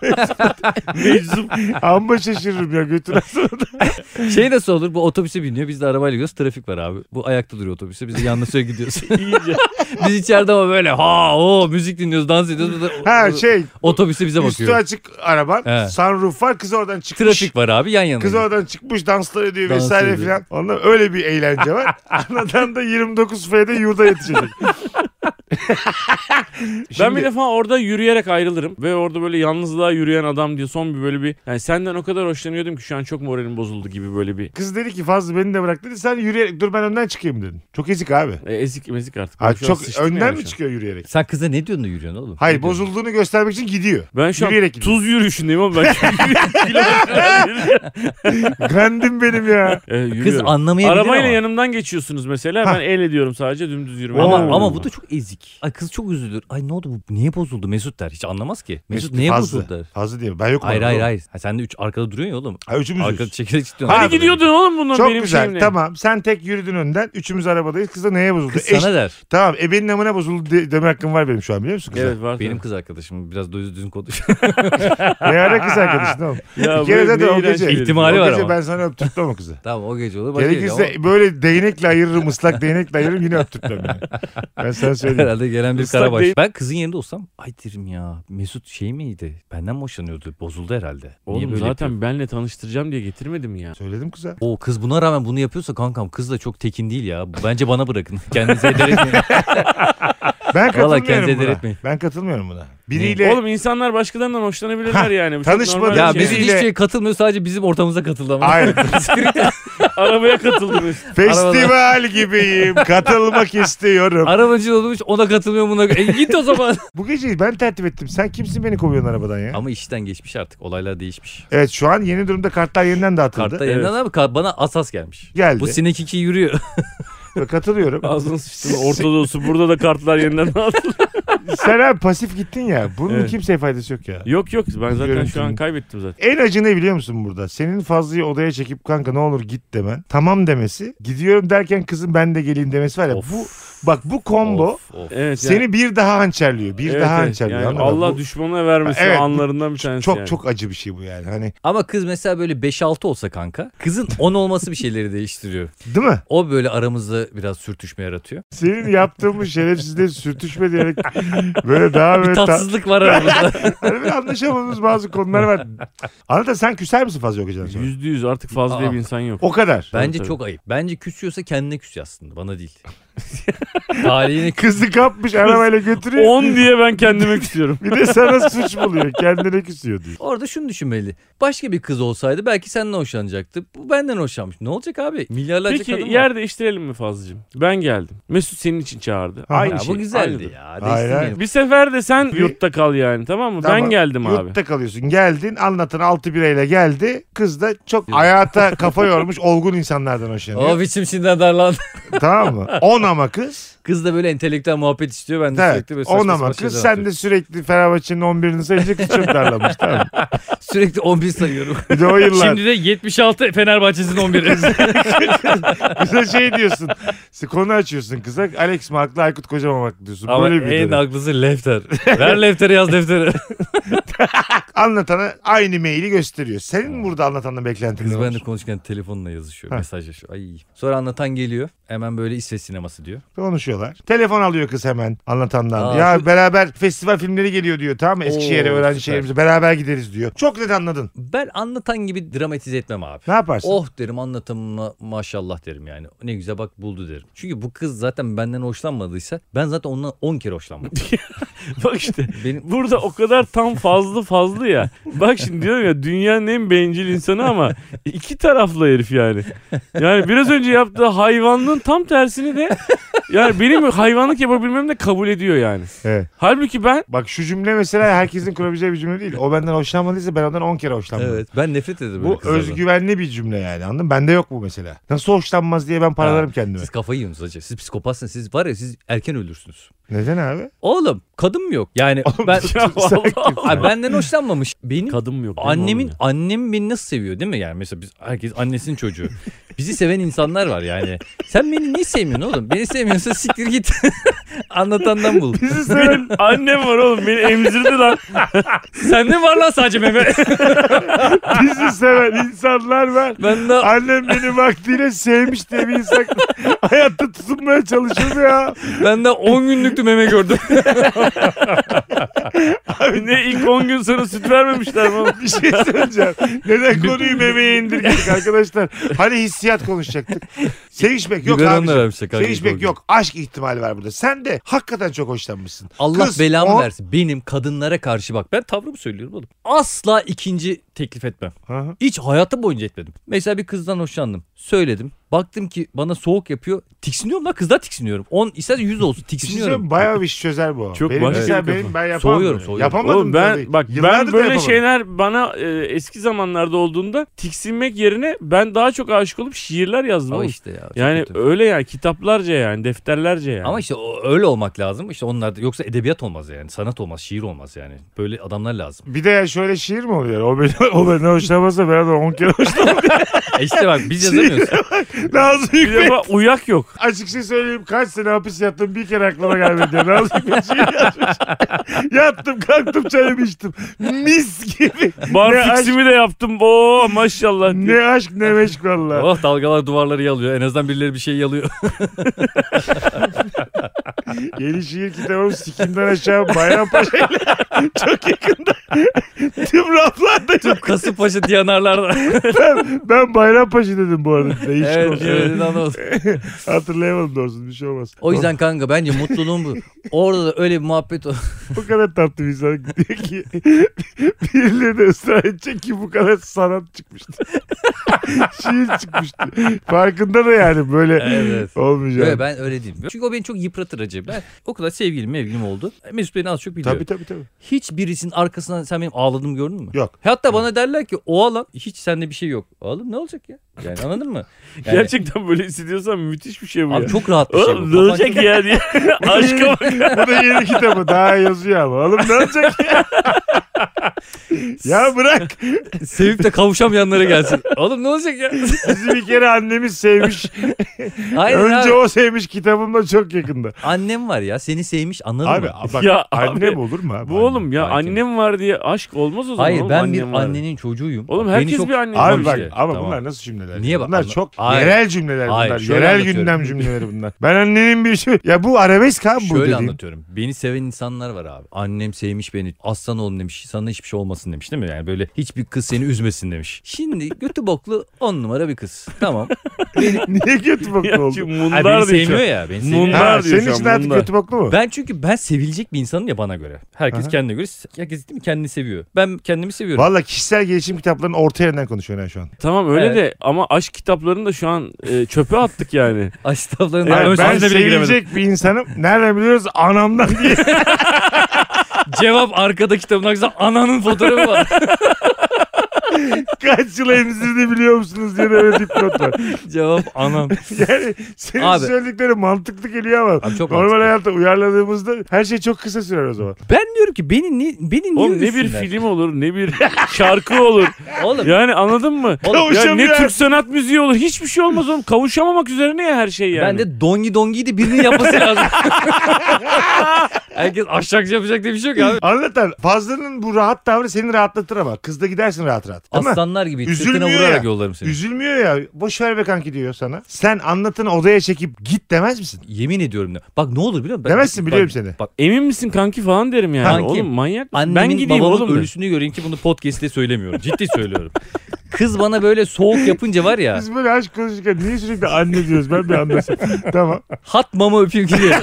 A: Meczup. Amma şaşırırım ya götür aslında.
B: Şey nasıl olur? Bu otobüse biniyor. Biz de arabayla gidiyoruz. Trafik var abi. Bu ayakta duruyor otobüse. Biz de yanına süre gidiyoruz.
C: İyice.
B: Biz içeride ama böyle ha o müzik dinliyoruz, dans ediyoruz. Bu da-
A: Ha
B: bu-
A: şey.
B: Otobüse bize
A: Üstü
B: bakıyor.
A: açık araban.
B: Evet.
A: Sunroof var. Kız oradan çıkmış.
B: Trafik var abi yan yana.
A: Kız oradan çıkmış danslar ediyor
B: Dans
A: vesaire
B: ediyor.
A: filan. Ondan öyle bir eğlence var. Anadan da 29 F'de yurda yetişecek.
C: ben bir defa orada yürüyerek ayrılırım. Ve orada böyle yalnızlığa yürüyen adam diye son bir böyle bir. Yani senden o kadar hoşlanıyordum ki şu an çok moralim bozuldu gibi böyle bir.
A: Kız dedi ki fazla beni de bırak dedi. Sen yürüyerek dur ben önden çıkayım dedin. Çok ezik abi.
C: E, ezik ezik artık.
A: Ha,
C: Ben şu an
A: çok
C: sıçtım
A: önden
C: yani
A: mi
C: şu an.
A: çıkıyor yürüyerek?
B: Sen kıza ne diyorsun da yürüyorsun oğlum?
A: Hayır
B: Ne diyorsun?
A: bozulduğunu göstermek için gidiyor.
C: Ben şu an
A: Yürüyerek gidiyorum.
C: tuz yürüyüşündeyim ama ben şu an kilometrelerle
A: Grandim benim ya.
C: e,
B: Kız
C: yürüyorum.
B: anlamayabilir
C: Arabayla
B: ama.
C: yanımdan geçiyorsunuz mesela. Ben el ediyorum sadece dümdüz yürümeye.
B: Ama,
A: Oo.
C: devam
B: ama
C: ediyorum.
B: bu da çok ezik. Ay kız çok üzülür. Ay ne oldu bu? Niye bozuldu? Mesut der. Hiç anlamaz ki. Mesut, neye
A: fazla.
B: bozuldu der.
A: Fazla diyor. Ben yokum.
B: Hayır
A: orada
B: hayır
A: oğlum.
B: hayır. Ha, sen de üç arkada duruyorsun ya oğlum.
A: Ha, üçümüz
B: Arkada
A: yüz.
B: çekilerek gidiyorsun.
C: Hani
B: Arkada
C: gidiyordun oğlum bundan
A: Çok
C: benim
A: güzel.
C: şeyimle.
A: Tamam. Sen tek yürüdün önden. Üçümüz arabadayız. Kız da neye bozuldu?
B: Kız
A: Eş-
B: sana der.
A: Tamam. Ebenin amına bozuldu de- deme hakkım var benim şu an biliyor musun kıza?
C: Evet var.
B: Benim kız arkadaşım biraz düz düzgün konuş.
A: Ne ara kız arkadaşın oğlum?
C: Ya
A: Bir kere
C: böyle
A: zaten
C: ne
A: o
C: iğrenç
A: gece.
C: bir-
B: İhtimali
A: o
B: var
A: gece
B: ama.
A: ben sana öptürtmem o kızı.
B: tamam o gece olur. Başka
A: Gerekirse
B: gece
A: böyle değnekle ayırırım ıslak değnekle ayırırım yine öptürtmem yani. Ben sana
B: ama
A: söyleyeyim.
B: Herhalde gelen bir
C: Islak
B: karabaş.
C: değil.
B: Ben kızın yerinde olsam ay derim ya Mesut şey miydi? Benden mi hoşlanıyordu? Bozuldu herhalde. Niye
C: Oğlum
B: böyle
C: zaten
B: yapıyor?
C: benle tanıştıracağım diye getirmedim ya.
A: Söyledim kıza.
B: O kız buna rağmen bunu yapıyorsa kankam kız da çok tekin değil ya. Bence bana bırakın. Kendinize ederek
A: Ben katılmıyorum
B: kendinize
A: buna.
B: delirtmeyin.
A: Ben katılmıyorum buna. Biriyle
C: Oğlum insanlar başkalarından hoşlanabilirler yani. Bu çok
A: tanışmadan-
C: normal bir
B: Ya
A: Şey-
B: Mesut hiç
A: Biriyle-
B: şeye katılmıyor sadece bizim ortamıza katıldı ama.
A: Hayır.
C: Arabaya katıldım. Mesut.
A: festival gibiyim. Katılmak istiyorum.
B: Arabacı olmuş ona katılmıyor buna. E git o zaman.
A: Bu geceyi ben tertip ettim. Sen kimsin beni kovuyorsun arabadan ya?
B: ama işten geçmiş artık. Olaylar değişmiş.
A: Evet şu an yeni durumda kartlar yeniden dağıtıldı.
B: Kartta yeniden abi ka- bana asas gelmiş.
A: Geldi.
B: Bu sinek iki yürüyor.
A: Ve Katılıyorum.
C: Ağzını sıçtın Orta Doğusu. Burada da kartlar yeniden dağıtıldı.
A: Sen abi pasif gittin ya. Bunun
C: Evet.
A: kimseye faydası yok ya.
C: yok yok ben zaten şu
A: Görüntünün.
C: an kaybettim zaten.
A: En acı ne biliyor musun burada? Senin Fazlı'yı odaya çekip kanka ne olur git demen. Tamam demesi. Gidiyorum derken kızım ben de geleyim demesi var ya.
B: Of.
A: Bu Bak bu combo
B: Of, of.
C: Evet.
A: seni bir daha hançerliyor. Bir
C: Evet,
A: daha
C: evet.
A: hançerliyor.
C: Yani
A: anladın mı?
C: Allah
A: Bu
C: düşmana vermesi
A: Evet, bu
C: anlarından bir tanesi
A: Çok
C: yani.
A: çok acı bir şey bu yani. Hani
B: Ama kız mesela böyle 5-6 olsa kanka kızın 10 olması bir şeyleri değiştiriyor.
A: değil mi?
B: O böyle aramızda biraz sürtüşme yaratıyor.
A: Senin yaptığın bu şerefsizliğe sürtüşme diyerek böyle daha
B: Bir
A: böyle ta-
B: tatsızlık var aramızda.
A: hani böyle anlaşamadığımız bazı konular var. Anlatan sen küser misin fazla o geceden sonra?
C: Yüzde yüz artık fazla
B: Aa.
C: bir insan yok.
A: O kadar.
B: Bence
C: tabii.
B: çok ayıp. Bence küsüyorsa kendine küs aslında bana değil. Talihine küs.
A: Kızı kapmış arabayla götürüyor.
C: 10 diye ben kendime küsüyorum.
A: Bir de sana suç buluyor. Kendine küsüyor diyor.
B: Orada şunu düşünmeli. Başka bir kız olsaydı belki senden hoşlanacaktı. Bu benden hoşlanmış. Ne olacak abi? Milyarlarca
C: Peki
B: kadın var.
C: yer değiştirelim mi Fazlıcığım? Ben geldim. Mesut senin için çağırdı.
A: Aha.
B: Ya
C: Aynı şey.
B: bu güzeldi
C: aynıdır.
B: ya.
A: Hayır, hayır.
B: Değiştirmeyelim.
C: Bir sefer de sen
A: Bir-
C: yurtta kal yani tamam mı?
A: Tamam.
C: Ben geldim abi.
A: Yurtta kalıyorsun. Geldin anlatan 6 bireyle geldi. Kız da çok hayata kafa yormuş olgun insanlardan hoşlanıyor.
B: O biçim şimdiden darlandı.
A: Tamam mı? 10 ama kız.
B: Kız da böyle entelektüel muhabbet istiyor. Ben de
A: Evet.
B: sürekli böyle saçma
A: 10
B: sapan
A: ama
B: şeyler
A: kız. Sen de
B: atıyorum.
A: sürekli Fenerbahçe'nin 11'ini sayınca kız çok darlamış. Tamam mı?
B: Sürekli 11 sayıyorum.
A: Bir de o yıllar.
B: Şimdi de 76 Fenerbahçe'sin 11'i.
A: Kıza şey diyorsun. Konu açıyorsun kıza. Alex mi haklı Aykut Kocaman mı haklı diyorsun.
B: Ama
A: Böyle bir dönem.
B: en haklısı Lefter. Ver Lefter'i yaz Lefter'i.
A: Anlatana aynı maili gösteriyor. Senin burada anlatandan beklentin ne
B: Kız ben de
A: var?
B: konuşurken telefonla yazışıyor.
A: Ha.
B: Mesajlaşıyor. Ay. Sonra anlatan geliyor. Hemen böyle İsveç sineması diyor.
A: Konuşuyorlar. Telefon alıyor kız hemen anlatandan.
B: Aa,
A: ya
B: şu-
A: beraber festival filmleri geliyor diyor tamam mı? Eskişehir'e
B: Oo,
A: öğrenci
B: süper.
A: şehrimize beraber gideriz diyor. Çok net anladın.
B: Ben anlatan gibi dramatize etmem abi.
A: Ne yaparsın?
B: Oh derim anlatımına maşallah derim yani. Ne güzel bak buldu derim. Çünkü bu kız zaten benden hoşlanmadıysa ben zaten ondan 10 kere hoşlanmadım.
C: Bak işte
B: Benim
C: burada o kadar tam fazla fazla ya. Bak şimdi diyorum ya dünyanın en bencil insanı ama iki taraflı herif yani. Yani biraz önce yaptığı hayvanlığın tam tersini de yani benim hayvanlık yapabilmem de kabul ediyor yani.
A: Evet.
C: Halbuki ben
A: Bak şu cümle mesela herkesin kurabileceği bir cümle değil. O benden hoşlanmadıysa ben ondan 10 kere hoşlanmadım.
B: evet ben nefret ederim böyle
A: Bu
B: kızlardan.
A: özgüvenli bir cümle yani anladın mı? Bende yok bu mesela. Nasıl hoşlanmaz diye ben paralarım kendime.
B: Siz kafayı yiyorsunuz hacı. Siz psikopatsınız. Siz var ya siz erken ölürsünüz.
A: Neden abi?
B: Oğlum kadın mı yok? Yani
A: Oğlum,
B: ben
C: Ya vallahi.
B: Ay, benden hoşlanmamış. Benim
C: Kadın mı yok? değil mi
B: annemin
C: oğlum
B: annem beni nasıl seviyor değil mi? Yani mesela biz herkes annesinin çocuğu. Bizi seven insanlar var yani. Sen beni niye sevmiyorsun oğlum? Beni sevmiyorsa siktir git. Anlatandan bul.
A: Bizi
C: ya?
A: seven
C: Benim annem var oğlum beni emzirdi lan.
B: Sende var lan sadece meme.
A: Bizi seven insanlar var.
B: Ben de
A: Annem beni vaktiyle sevmiş diye bir insan hayatta tutunmaya çalışır mı ya.
B: ben de 10 günlüktü meme gördüm.
C: Abi ne ilk 10 gün sonra süt vermemişler mi? oğlum?
A: Bir şey söyleyeceğim. Neden konuyu memeye indirgedik arkadaşlar? Hani hissiyat konuşacaktık. Sevişmek yok
B: Biberon da
A: abi.
B: vermişler kanka ilk o
A: Sevişmek
B: gün.
A: yok. Aşk ihtimali var burada. Sen de hakikaten çok hoşlanmışsın.
B: Allah
A: Kız
B: belamı
A: on-
B: versin. Benim kadınlara karşı bak. Ben tavrımı söylüyorum oğlum. Asla ikinci teklif etmem.
A: Hı hı.
B: Hiç hayatım boyunca etmedim. Mesela bir kızdan hoşlandım. Söyledim. Baktım ki bana soğuk yapıyor. Tiksiniyorum lan kızdan tiksiniyorum. 10 isterse 100 olsun
A: Bir şey söyleyeyim mi?
B: tiksiniyorum.
A: bayağı bir iş çözer bu.
C: Çok Şey
A: benim
C: başka
A: mesela
C: bir
A: benim
C: kafa.
A: ben yapamam.
B: Soğuyorum,
A: bunu.
B: soğuyorum.
A: Yapamadım
C: Oğlum ben
A: tabii.
C: bak
A: Yıllardır da
C: ben böyle
A: yapamadım.
C: şeyler bana e, eski zamanlarda olduğunda tiksinmek yerine ben daha çok aşık olup şiirler yazdım.
B: Ama
C: oğlum.
B: işte ya. çok
C: yani
B: kötü.
C: öyle yani kitaplarca yani defterlerce yani.
B: Ama işte o- öyle olmak lazım. İşte onlar da- yoksa edebiyat olmaz yani. Sanat olmaz, şiir olmaz yani. Böyle adamlar lazım.
A: Bir de ya şöyle şiir mi oluyor? O beni, o beni hoşlamazsa ben de 10 kere hoşlanırım.
B: E işte bak biz yazamıyoruz.
A: Nazım
C: bir
A: Hikmet.
C: de bak uyak yok.
A: Açık şey söyleyeyim kaç sene hapis yattım bir kere aklıma gelmedi diyor. Nazım Hikmet şiir yazmış. Yattım kalktım çayımı içtim. Mis gibi. Ne
C: Bar
A: aşk-
C: fiksimi de yaptım. Oo maşallah. diye.
A: Ne aşk ne meşk valla.
B: oh dalgalar duvarları yalıyor. En azından birileri bir şey yalıyor.
A: Yeni şiir kitabım Sikim'den aşağı Bayrampaşa ile çok yakında. Tüm raflarda çok.
B: Kasımpaşa Diyanarlar'da.
A: Ben, ben Bayrampaşa dedim bu arada. Değişik
B: evet,
A: olsun.
B: evet, evet.
A: Hatırlayamadım doğrusu bir şey olmaz.
B: O yüzden kanka bence mutluluğun bu. Orada da öyle bir muhabbet o-
A: Bu kadar tatlı bir insan diyor ki birileri de ısrar edecek ki bu kadar sanat çıkmıştı. Şiir çıkmıştı. Farkında da yani böyle
B: Evet.
A: olmayacak.
B: Yok, ben öyle değilim. Çünkü o beni çok yıpratır acaba. Ben o kadar sevgilim mevgilim oldu. E, Mesut beni az çok biliyor.
A: Tabii tabii tabii.
B: Hiç birisinin arkasından sen benim ağladığımı gördün mü?
A: Yok.
B: Hatta bana derler ki o alan hiç sende bir şey yok. Oğlum ne olacak ya? Yani anladın mı? Yani,
C: Gerçekten böyle hissediyorsan müthiş bir şey bu
B: Abi
C: ya.
B: çok rahat bir şey.
C: Oğlum
B: bu.
C: ne olacak ya diye. Aşka bak.
A: Bu da yeni kitabı. Daha yazıyor ama. Oğlum ne olacak ya? ya bırak.
B: Sevip de kavuşamayanlara gelsin. Oğlum ne olacak ya?
A: Bizi bir kere annemiz sevmiş.
B: Hayır
A: Önce
B: abi.
A: o sevmiş kitabımla çok yakında.
B: Annem var ya seni sevmiş anladın
A: Abi
B: mı?
A: bak
C: Ya abi,
A: annem olur mu abi?
C: Bu oğlum ya
B: Belki.
C: annem var diye aşk olmaz o zaman.
B: Hayır
C: oğlum,
B: ben
C: annem
B: bir
C: var.
B: annenin çocuğuyum.
C: Oğlum
B: Beni
C: herkes
B: çok-
C: bir şey. anne.
A: Abi
B: Tamam
A: bak
B: işte,
A: ama
B: tamam.
A: bunlar nasıl cümleler?
B: Niye bak-
A: Bunlar
B: anla-
A: çok
B: Hayır.
A: yerel cümleler
B: Hayır,
A: bunlar.
B: şöyle
A: Yerel
B: anlatıyorum.
A: gündem cümleleri bunlar. Ben annenin bir şey... Ya bu arabesk abi bu
B: Şöyle
A: dediğin.
B: anlatıyorum. Beni seven insanlar var abi. Annem sevmiş beni. Aslan oğlum demiş. Sana hiçbir şey olmasın demiş değil mi? Yani böyle hiçbir kız seni üzmesin demiş. Şimdi götü boklu on numara bir kız. Tamam.
A: Niye kötü
C: Ya,
A: boklu
C: çünkü
A: oldu?
B: Ay, beni
C: mundar diyor şu an.
B: sevmiyor ya. Beni sevmiyor.
C: Mundar.
A: Ha,
C: Bunlar diyor
A: senin
C: şu
A: için
C: an
A: artık
C: bunlar.
A: kötü boklu mu?
B: Ben çünkü ben sevilecek bir insanım ya bana göre. Herkes
A: Aha.
B: kendine göre. Herkes değil mi? kendini seviyor. Ben kendimi seviyorum.
A: Valla kişisel gelişim kitaplarının orta yerinden konuşuyorsun ha şu an.
C: Tamam öyle
B: Evet.
C: de ama aşk kitaplarını da şu an e, çöpe attık yani.
B: Asitafların
A: Yani
B: ön
A: ben
B: sözüne bile giremedim.
A: sevilecek bir insanım. Nereden biliyoruz? Anamdan diye.
B: Cevap arkada kitabın arkasında ananın fotoğrafı var.
A: Kaç yıl emzirdi biliyor musunuz diye de öyle dipnot var.
B: Cevap anam.
A: Yani senin
B: Abi.
A: söyledikleri mantıklı geliyor ama.
B: Abi çok
A: Normal
B: mantıklı.
A: hayata uyarladığımızda her şey çok kısa sürer o zaman.
B: Ben diyorum ki beni ni, beni niye
C: Oğlum ne bir
B: üzsünler?
C: film olur ne bir şarkı olur.
B: Oğlum
C: Yani anladın mı?
B: Oğlum,
C: ya ne
A: Kavuşamayan-
C: Türk sanat müziği olur hiçbir şey olmaz oğlum. Kavuşamamak üzerine ya her şey yani.
B: Ben de dongi dongiyi de birinin yapması lazım. Herkes aşçakçı yapacak diye bir şey yok abi.
A: Anlatan Fazlının bu rahat tavrı seni rahatlatır ama. Kızda gidersin rahat rahat. Değil mi?
B: Aslanlar gibi sırtına
A: Üzülmüyor
B: vurarak
A: ya.
B: yollarım seni.
A: Üzülmüyor ya. Boş ver be kanki diyor sana. Sen anlatını odaya çekip git demez misin?
B: Yemin ediyorum. ya. Bak ne olur biliyor musun? Ben-
A: Demezsin, biliyorum
B: bak,
A: seni.
B: Bak
C: Emin misin kanki falan derim yani.
B: Kanki.
C: Oğlum manyak mısın?
B: annemin
C: Ben gideyim
B: babamın
C: oğlum. de.
B: ölüsünü göreyim ki bunu podcast'te söylemiyorum. Ciddi söylüyorum. Kız bana böyle soğuk yapınca var ya.
A: Biz böyle aşk konuşurken niye sürekli anne diyoruz ben bir anlasam. tamam.
B: Hat mama öpeyim ki diye.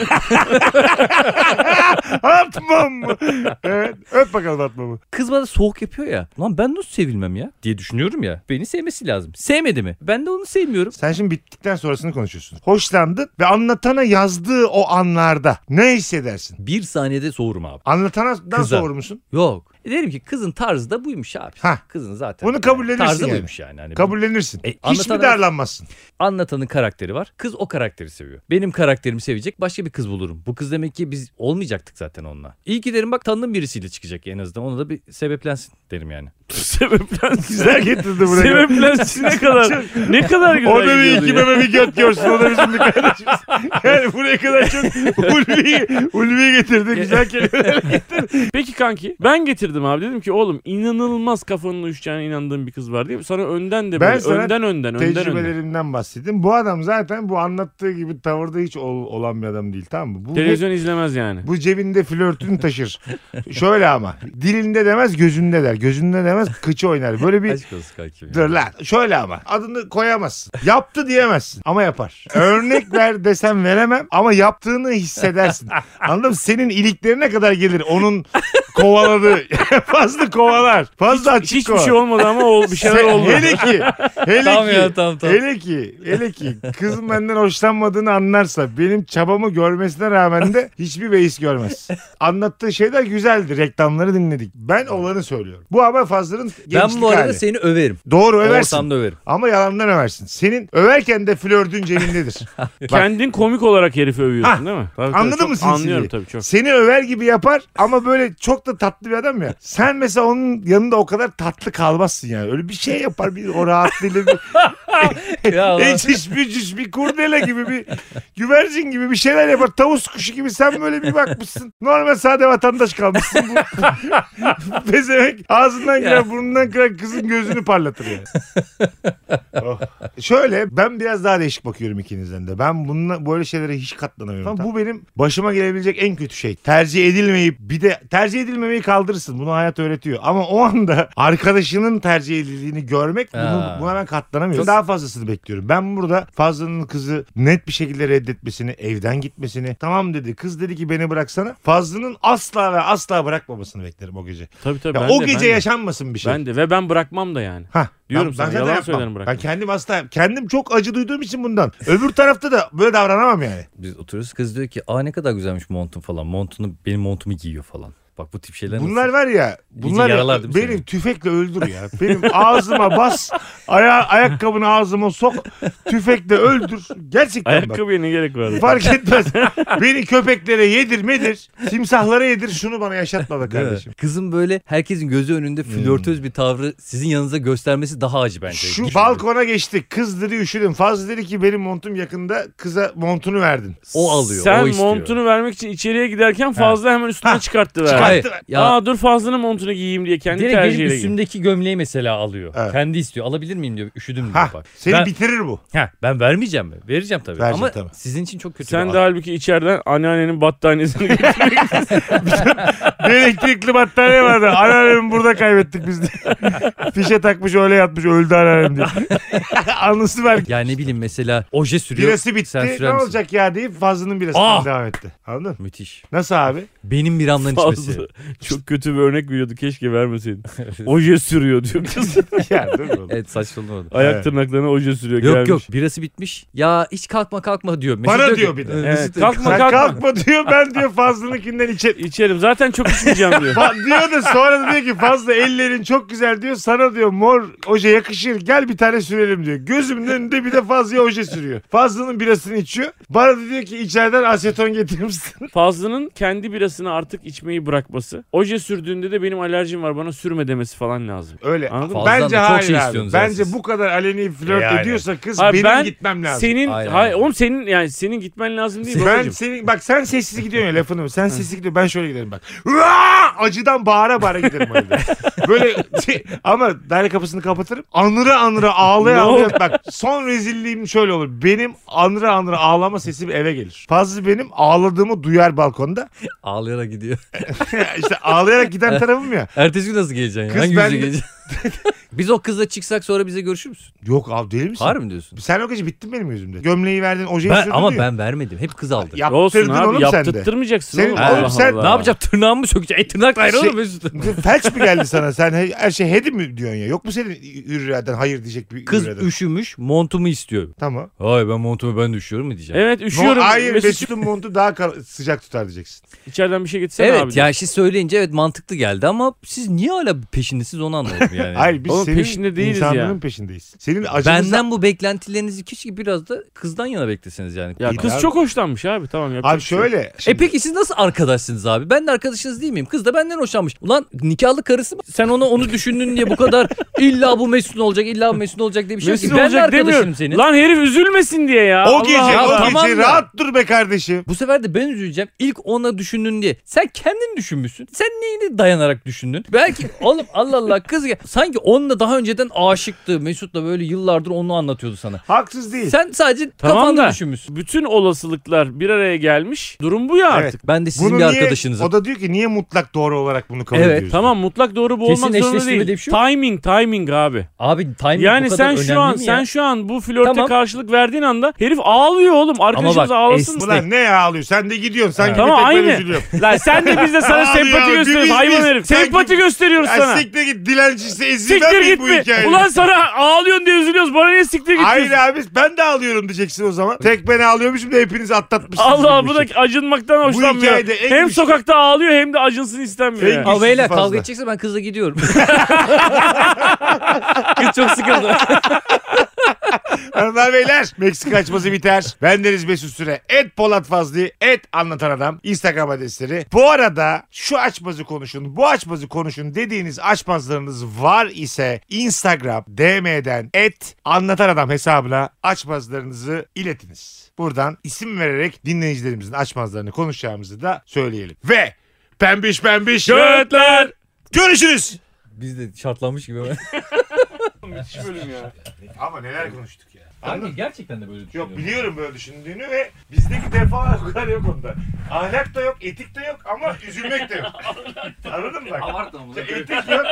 A: Atmam mı? Evet. Öp bakalım atmamı.
B: Kız bana soğuk yapıyor ya. Lan ben nasıl sevilmem ya diye düşünüyorum ya. Beni sevmesi lazım. Sevmedi mi? Ben de onu sevmiyorum.
A: Sen şimdi bittikten sonrasını konuşuyorsun. Hoşlandın ve anlatana yazdığı o anlarda ne hissedersin?
B: Bir saniyede soğurum abi.
A: Anlatana
B: Kıza.
A: soğur musun?
B: Yok. E derim ki kızın tarzı da buymuş abi.
A: Hah.
B: Kızın zaten.
A: Bunu kabullenirsin
B: Tarzı
A: yani.
B: buymuş yani. Hani
A: Kabullenirsin.
B: E,
A: Hiç mi
B: anlatan-
A: darlanmazsın?
B: anlatanın karakteri var. Kız o karakteri seviyor. Benim karakterimi sevecek başka bir kız bulurum. Bu kız demek ki biz olmayacaktık zaten onunla. İyi ki derim bak tanıdığım birisiyle çıkacak en azından. Ona da bir sebeplensin derim yani.
C: Sebeplensin.
A: Güzel getirdi buraya.
C: Sebeplensin ne kadar. ne kadar güzel
A: O da bir
C: gidiyordu
A: iki
C: ya.
A: meme bir göt görsün. O da bizim bir kardeşimiz. Yani buraya kadar çok ulvi, ulvi getirdi. Güzel kelimeler.
C: Peki kanki ben getirdim abi dedim ki oğlum inanılmaz kafanın uyuşacağına inandığım bir kız var diye. Sana önden de
A: Ben
C: böyle
A: sana
C: önden önden önden önden.
A: Tecrübelerimden bahsettim. Bu adam zaten bu anlattığı gibi tavırda hiç ol- olan bir adam değil tamam mı? Bu
C: Televizyon izlemez yani.
A: Bu cebinde flörtünü taşır. Şöyle ama dilinde demez gözünde der. Gözünde demez kıçı oynar. Böyle bir
B: Aşk olsun kankim. ya.
A: Dur lan. Şöyle ama adını koyamazsın. Yaptı diyemezsin ama yapar. Örnek ver desem veremem ama yaptığını hissedersin. Anladın mı? Senin iliklerine kadar gelir onun kovaladığı. fazla kovalar. Fazla açık
C: Hiçbir
A: kovalar.
C: şey olmadı ama ol, bir şeyler
A: Sen-
C: oldu.
A: Hele ki. Hele
B: Tamam
A: ki.
B: ya, tamam, tamam.
A: Hele ki. Hele ki. Kızın benden hoşlanmadığını anlarsa benim çabamı görmesine rağmen de hiçbir beis görmez. Anlattığı şeyler güzeldi. Reklamları dinledik. Ben olanı söylüyorum. Bu ama Fazla'nın gençlik
B: Ben bu arada
A: hali.
B: seni överim.
A: Doğru översin.
B: Ortamda överim.
A: Ama yalandan översin. Senin överken de flördün cebindedir.
C: Kendin komik olarak herifi övüyorsun
A: Ha,
C: değil mi? Tabii, tabii,
A: anladın
C: çok
A: mı sinsiliği?
C: Anlıyorum tabii çok.
A: Seni över gibi yapar ama böyle çok da tatlı bir adam ya. Sen mesela onun yanında o kadar tatlı kalmazsın yani. Öyle bir şey yapar bir o rahatlığıyla bir
B: Ya Allah.
A: eciş bücüş bir kurdele gibi bir güvercin gibi bir şeyler yapar. Tavus kuşu gibi sen böyle bir bakmışsın. Normal sade vatandaş kalmışsın. Bu pezevenk ağzından girer burnundan kırar kızın gözünü parlatır yani. Oh. Şöyle ben biraz daha değişik bakıyorum ikinizden de. Ben bununla böyle şeylere hiç katlanamıyorum. Tamam, bu benim başıma gelebilecek en kötü şey. Tercih edilmeyip bir de tercih edilmemeyi kaldırırsın. Bunu hayat öğretiyor. Ama o anda arkadaşının tercih edildiğini görmek bunu,
B: Ha.
A: buna ben katlanamıyorum.
B: Çok-
A: Daha fazlasını bekliyorum. Ben burada Fazlı'nın kızı net bir şekilde reddetmesini, evden gitmesini. Tamam dedi. Kız dedi ki beni bıraksana. Fazlı'nın asla ve asla bırakmamasını beklerim o gece.
C: Tabii tabii.
A: Ya
C: ben
A: o
C: de,
A: gece
C: ben de.
A: yaşanmasın bir şey.
C: Ben de ve ben bırakmam da yani.
A: Hah,
C: Diyorum sana,
A: zaten
C: yalan
A: yapmam.
C: söylerim bırakmam.
A: Ben kendim hasta kendim çok acı duyduğum için bundan. Öbür tarafta da böyle davranamam yani.
B: Biz oturuyoruz kız diyor ki aa ne kadar güzelmiş montun falan. Montunu benim montumu giyiyor falan. Bak bu tip şeyler
A: Bunlar
B: nasıl?
A: var ya bunlar
B: yaralar değil mi
A: benim
B: seni?
A: tüfekle öldür ya. Benim ağzıma bas, aya, ayakkabını ağzıma sok, tüfekle öldür. Gerçekten bak.
C: Ayakkabıya ne gerek var?
A: Fark etmez. Beni köpeklere yedir medir, timsahlara yedir şunu bana yaşatma be
B: Değil mi?
A: kardeşim. Hmm.
B: Kızın böyle herkesin gözü önünde flörtöz bir tavrı sizin yanınıza göstermesi daha acı bence. şey
A: Şu
B: Düşünün.
A: balkona geçtik. Kız dedi üşüdüm. Fazla dedi ki benim montum yakında. Kıza montunu verdin.
B: O alıyor,
C: Sen
B: o istiyor.
C: montunu vermek için içeriye giderken fazla hemen üstüne
A: Ha,
C: çıkarttı ver.
A: çıkar-
B: Hayır,
A: Çıkarttı.
B: ya
C: Aa dur fazlanın montunu giyeyim diye kendi
B: direkt benim
C: tercihiyle giy.
B: üstümdeki gömleği mesela alıyor.
A: Evet.
B: Kendi istiyor. Alabilir miyim diyor. Üşüdüm diyor
A: Hah,
B: bak.
A: seni
B: ben,
A: bitirir bu.
B: Heh, ben vermeyeceğim mi? Vereceğim tabii.
A: Vereceğim
B: Ama
A: tabii.
B: sizin için çok kötü.
C: Sen
B: bir
C: de
B: an.
C: halbuki içeriden anneannenin battaniyesini getirdin.
A: Bir elektrikli battaniye vardı. Anneannemi burada kaybettik biz diye. Fişe takmış öyle yatmış öldü anneannem diye. Anısı var.
B: Ya ne bileyim mesela oje sürüyor.
A: Birası bitti.
B: Sen sürer
A: ne
B: misin?
A: olacak ya deyip Fazlı'nın birası
B: Ah!
A: devam etti. Anladın mı?
B: Müthiş.
A: Nasıl abi?
B: Benim biramdan içmesi.
C: Fazla. Çok kötü bir örnek veriyordu keşke vermeseydin. Oje sürüyor diyor kız.
A: ya dur oğlum.
B: evet saçmalama.
C: Ayak
A: Evet.
C: tırnaklarına oje sürüyor
B: Yok
C: gelmiş.
B: yok birası bitmiş. Ya hiç kalkma kalkma diyor.
A: Bana
B: ki-
A: diyor bir de.
B: Ee,
C: Evet,
B: Mesut-
C: kalkma
A: Sen
C: kalkma.
A: kalkma diyor ben diyor Fazlı'nınkinden içe...
C: İçerim zaten çok içmeyeceğim diyor.
A: Fa- diyor da sonra da diyor ki Fazlı ellerin çok güzel diyor sana diyor mor oje yakışır gel bir tane sürelim diyor. Gözümün önünde bir de Fazlı'ya oje sürüyor. Fazlı'nın birasını içiyor. Bana da diyor ki içeriden aseton getirir misin?
C: Fazlı'nın kendi birasını artık içmeyi bırakması. Oje sürdüğünde de benim alerjim var bana sürme demesi falan lazım.
A: Öyle.
C: Anladın mı?
B: Fazla
A: Bence
B: mı? Çok
A: hayır
B: şey
A: abi.
B: istiyorsunuz
A: Bence
B: siz.
A: bu kadar aleni flört
B: E, aynen.
A: ediyorsa kız
C: Hayır,
A: benim
C: ben
A: gitmem lazım.
C: Senin
B: Aynen.
C: hayır oğlum senin yani senin gitmen lazım değil mi?
A: ben
C: babacığım?
A: senin bak sen sessiz gidiyorsun ya lafını. Sen sessiz gidiyorsun. Ben şöyle giderim bak. Uaa! Acıdan bağıra bağıra giderim öyle. Böyle şey- ama daire kapısını kapatırım. Anıra anıra ağlaya
C: Ne
A: ağlaya. bak son rezilliğim şöyle olur. Benim anıra anıra ağlama sesim eve gelir. Fazla benim ağladığımı duyar balkonda.
B: Ağlayarak gidiyor.
A: işte ağlayarak giden tarafım ya.
B: Eh. Ertesi gün nasıl geleceksin? ya?
A: Kız
B: Hangi
A: ben-
B: yüzle geleceksin? Biz o kızla çıksak sonra bize görüşür müsün?
A: Yok abi deli misin?
B: Harbi mi diyorsun?
A: Sen o gece bittin benim gözümde. Gömleği verdin ojeyi
B: Ben,
A: sürdün
B: ama
A: diyor.
B: ben vermedim. Hep kız aldı.
A: Yaptırdın
C: Olsun abi
A: oğlum sen de.
C: yaptırtmayacaksın
A: Senin-
C: oğlum.
B: Oğlum
C: Allah
A: sen-
C: Allah.
B: Ne yapacağım? Tırnağımı mı sökeceğim? E tırnakla ayrı
A: Şey-
B: oğlum Mesut.
A: Felç mi geldi sana? Sen he- her şey hedi mi diyorsun ya? Yok mu senin hürriyaden hayır diyecek bir
B: Kız
A: hürriyaden?
B: üşümüş montumu istiyor.
A: Tamam.
B: Ay ben montumu ben de üşüyorum mu diyeceğim.
C: Evet
A: Üşüyorum.
C: üşüyorum.
A: No, hayır
C: Mesut
A: Mesut'un montu daha kal- sıcak tutar diyeceksin.
C: içeriden bir şey getirsene
B: Evet,
C: abi.
B: ya şimdi söyleyince evet mantıklı geldi ama siz niye hala peşindesiniz onu anlamadım yani.
A: Hayır biz
C: Oğlum
A: senin
C: peşinde değiliz
A: insanlığın
C: ya.
A: peşindeyiz. Senin acımızla...
B: Benden bu beklentilerinizi keşke biraz da kızdan yana bekleseniz yani.
C: Ya
A: İyi
C: kız
A: abi.
C: çok hoşlanmış abi tamam yapacak
A: Abi
C: bir şey yok.
A: şöyle.
B: E
A: şimdi-
B: peki siz nasıl arkadaşsınız abi? Ben de arkadaşınız değil miyim? Kız da benden hoşlanmış. Ulan nikahlı karısı mı? Sen ona onu düşündün diye bu kadar illa bu Mesut'un olacak, illa bu Mesut'un olacak diye bir şey yok. ki.
C: Mesut
B: Ben de
C: olacak demiyorum.
B: arkadaşım senin.
C: Lan herif üzülmesin diye ya.
A: O
C: Allah
A: gece,
C: Allah.
A: o
B: tamam
A: gece
B: da.
A: rahat dur be kardeşim.
B: Bu sefer de ben üzüleceğim. İlk ona düşündün diye. Sen kendin düşünmüşsün. Sen neyini dayanarak düşündün? Belki oğlum Allah Allah kız ya. Sanki onunla daha önceden aşıktı. Mesut da böyle yıllardır onu anlatıyordu sana.
A: Haksız değil.
B: Sen sadece
C: Tamam
B: kafanda
C: da.
B: düşünmüşsün.
C: Bütün olasılıklar bir araya gelmiş. Durum bu ya
A: Evet.
C: artık.
B: Ben de sizin
A: Bunu
B: bir
A: niye-
B: arkadaşınızım.
A: O da diyor ki niye mutlak doğru olarak bunu kabul
B: Evet,
A: ediyorsun?
C: Tamam mutlak doğru bu
B: Kesin
C: olmak zorunda
B: eşleştirme
C: değil.
B: diye bir şey yok.
C: timing, timing abi.
B: Abi timing bu
C: yani
B: kadar
C: sen
B: önemli
C: şu an
B: mi ya?
C: sen şu an bu flörte
B: Tamam.
C: karşılık verdiğin anda herif ağlıyor oğlum. Arkadaşımız
B: bak,
C: ağlasın.
B: es-
A: Ulan ne ya ağlıyor? Sen de gidiyorsun. Sanki
C: Tamam,
A: bir tek ben
C: aynı.
A: üzülüyorum.
C: Lan sen de biz de sana
A: Abi ya,
C: sempati
A: biz-
C: gösteriyoruz
A: biz-
C: hayvan
A: biz-
C: herif.
A: sanki-
C: Sempati gösteriyoruz
A: Ya
C: sana.
A: siktir git dilencisi ezilmem
C: Siktir
A: mi
C: git
A: bu
C: mi?
A: hikaye?
C: Ulan sana ağlıyorsun diye üzülüyoruz. Bana niye siktir git
A: Hayır
C: diyorsun?
A: abi ben de ağlıyorum diyeceksin o zaman. Tek ben ağlıyormuşum da hepiniz atlatmışsınız.
C: Allah Allah, bu
A: işi.
C: da acınmaktan hoşlanmıyor.
A: hikayede en
C: hem
A: güçlü-
C: sokakta ağlıyor hem de acınsın istemiyor.
A: En
C: ya.
A: güçlü-
B: Ama beyler
A: fazla.
B: kavga edecekse ben kızla gidiyorum. Kız çok sıkıldı.
A: Hanımlar beyler Meksika açması biter. Ben Deniz Mesut Süre. Et Polat Fazlı. Et Anlatan Adam. Instagram adresleri. Bu arada şu açmazı konuşun. Bu açmazı konuşun dediğiniz açmazlarınız var ise Instagram DM'den et Anlatan Adam hesabına açmazlarınızı iletiniz. Buradan isim vererek dinleyicilerimizin açmazlarını konuşacağımızı da söyleyelim. Ve pembiş pembiş
C: Götler.
A: görüşürüz.
B: Biz de şartlanmış gibi.
A: Ama neler konuştuk ya. Anladın?
B: gerçekten de böyle
A: Yok biliyorum böyle düşündüğünü ve bizdeki defalar o kadar yok onda. Ahlak da yok, etik de yok ama üzülmek de yok. Anladın mı bak? Etik yok,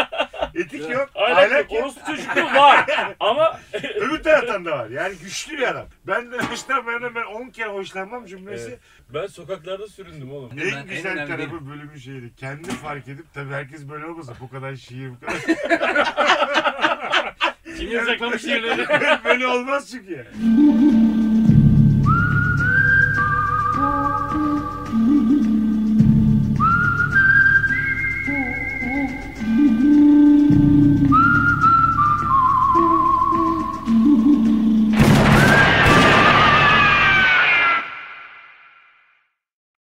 A: etik yok, ahlak yok.
C: Orası çocukluğu var. Ama
A: Öbür taraftan da var. Yani güçlü bir adam. Ben de hoşlanmayanım ben 10 kere hoşlanmam cümlesi.
C: ben sokaklarda süründüm oğlum.
B: Evet. Ben-
A: En
B: en
A: güzel
B: önemli
A: tarafı bölümün şeydi. Kendi fark edip tabii herkes böyle olmasa bu kadar şiir bu kadar.
C: Kim yasaklamış yerleri?
A: böyle olmaz çünkü yani.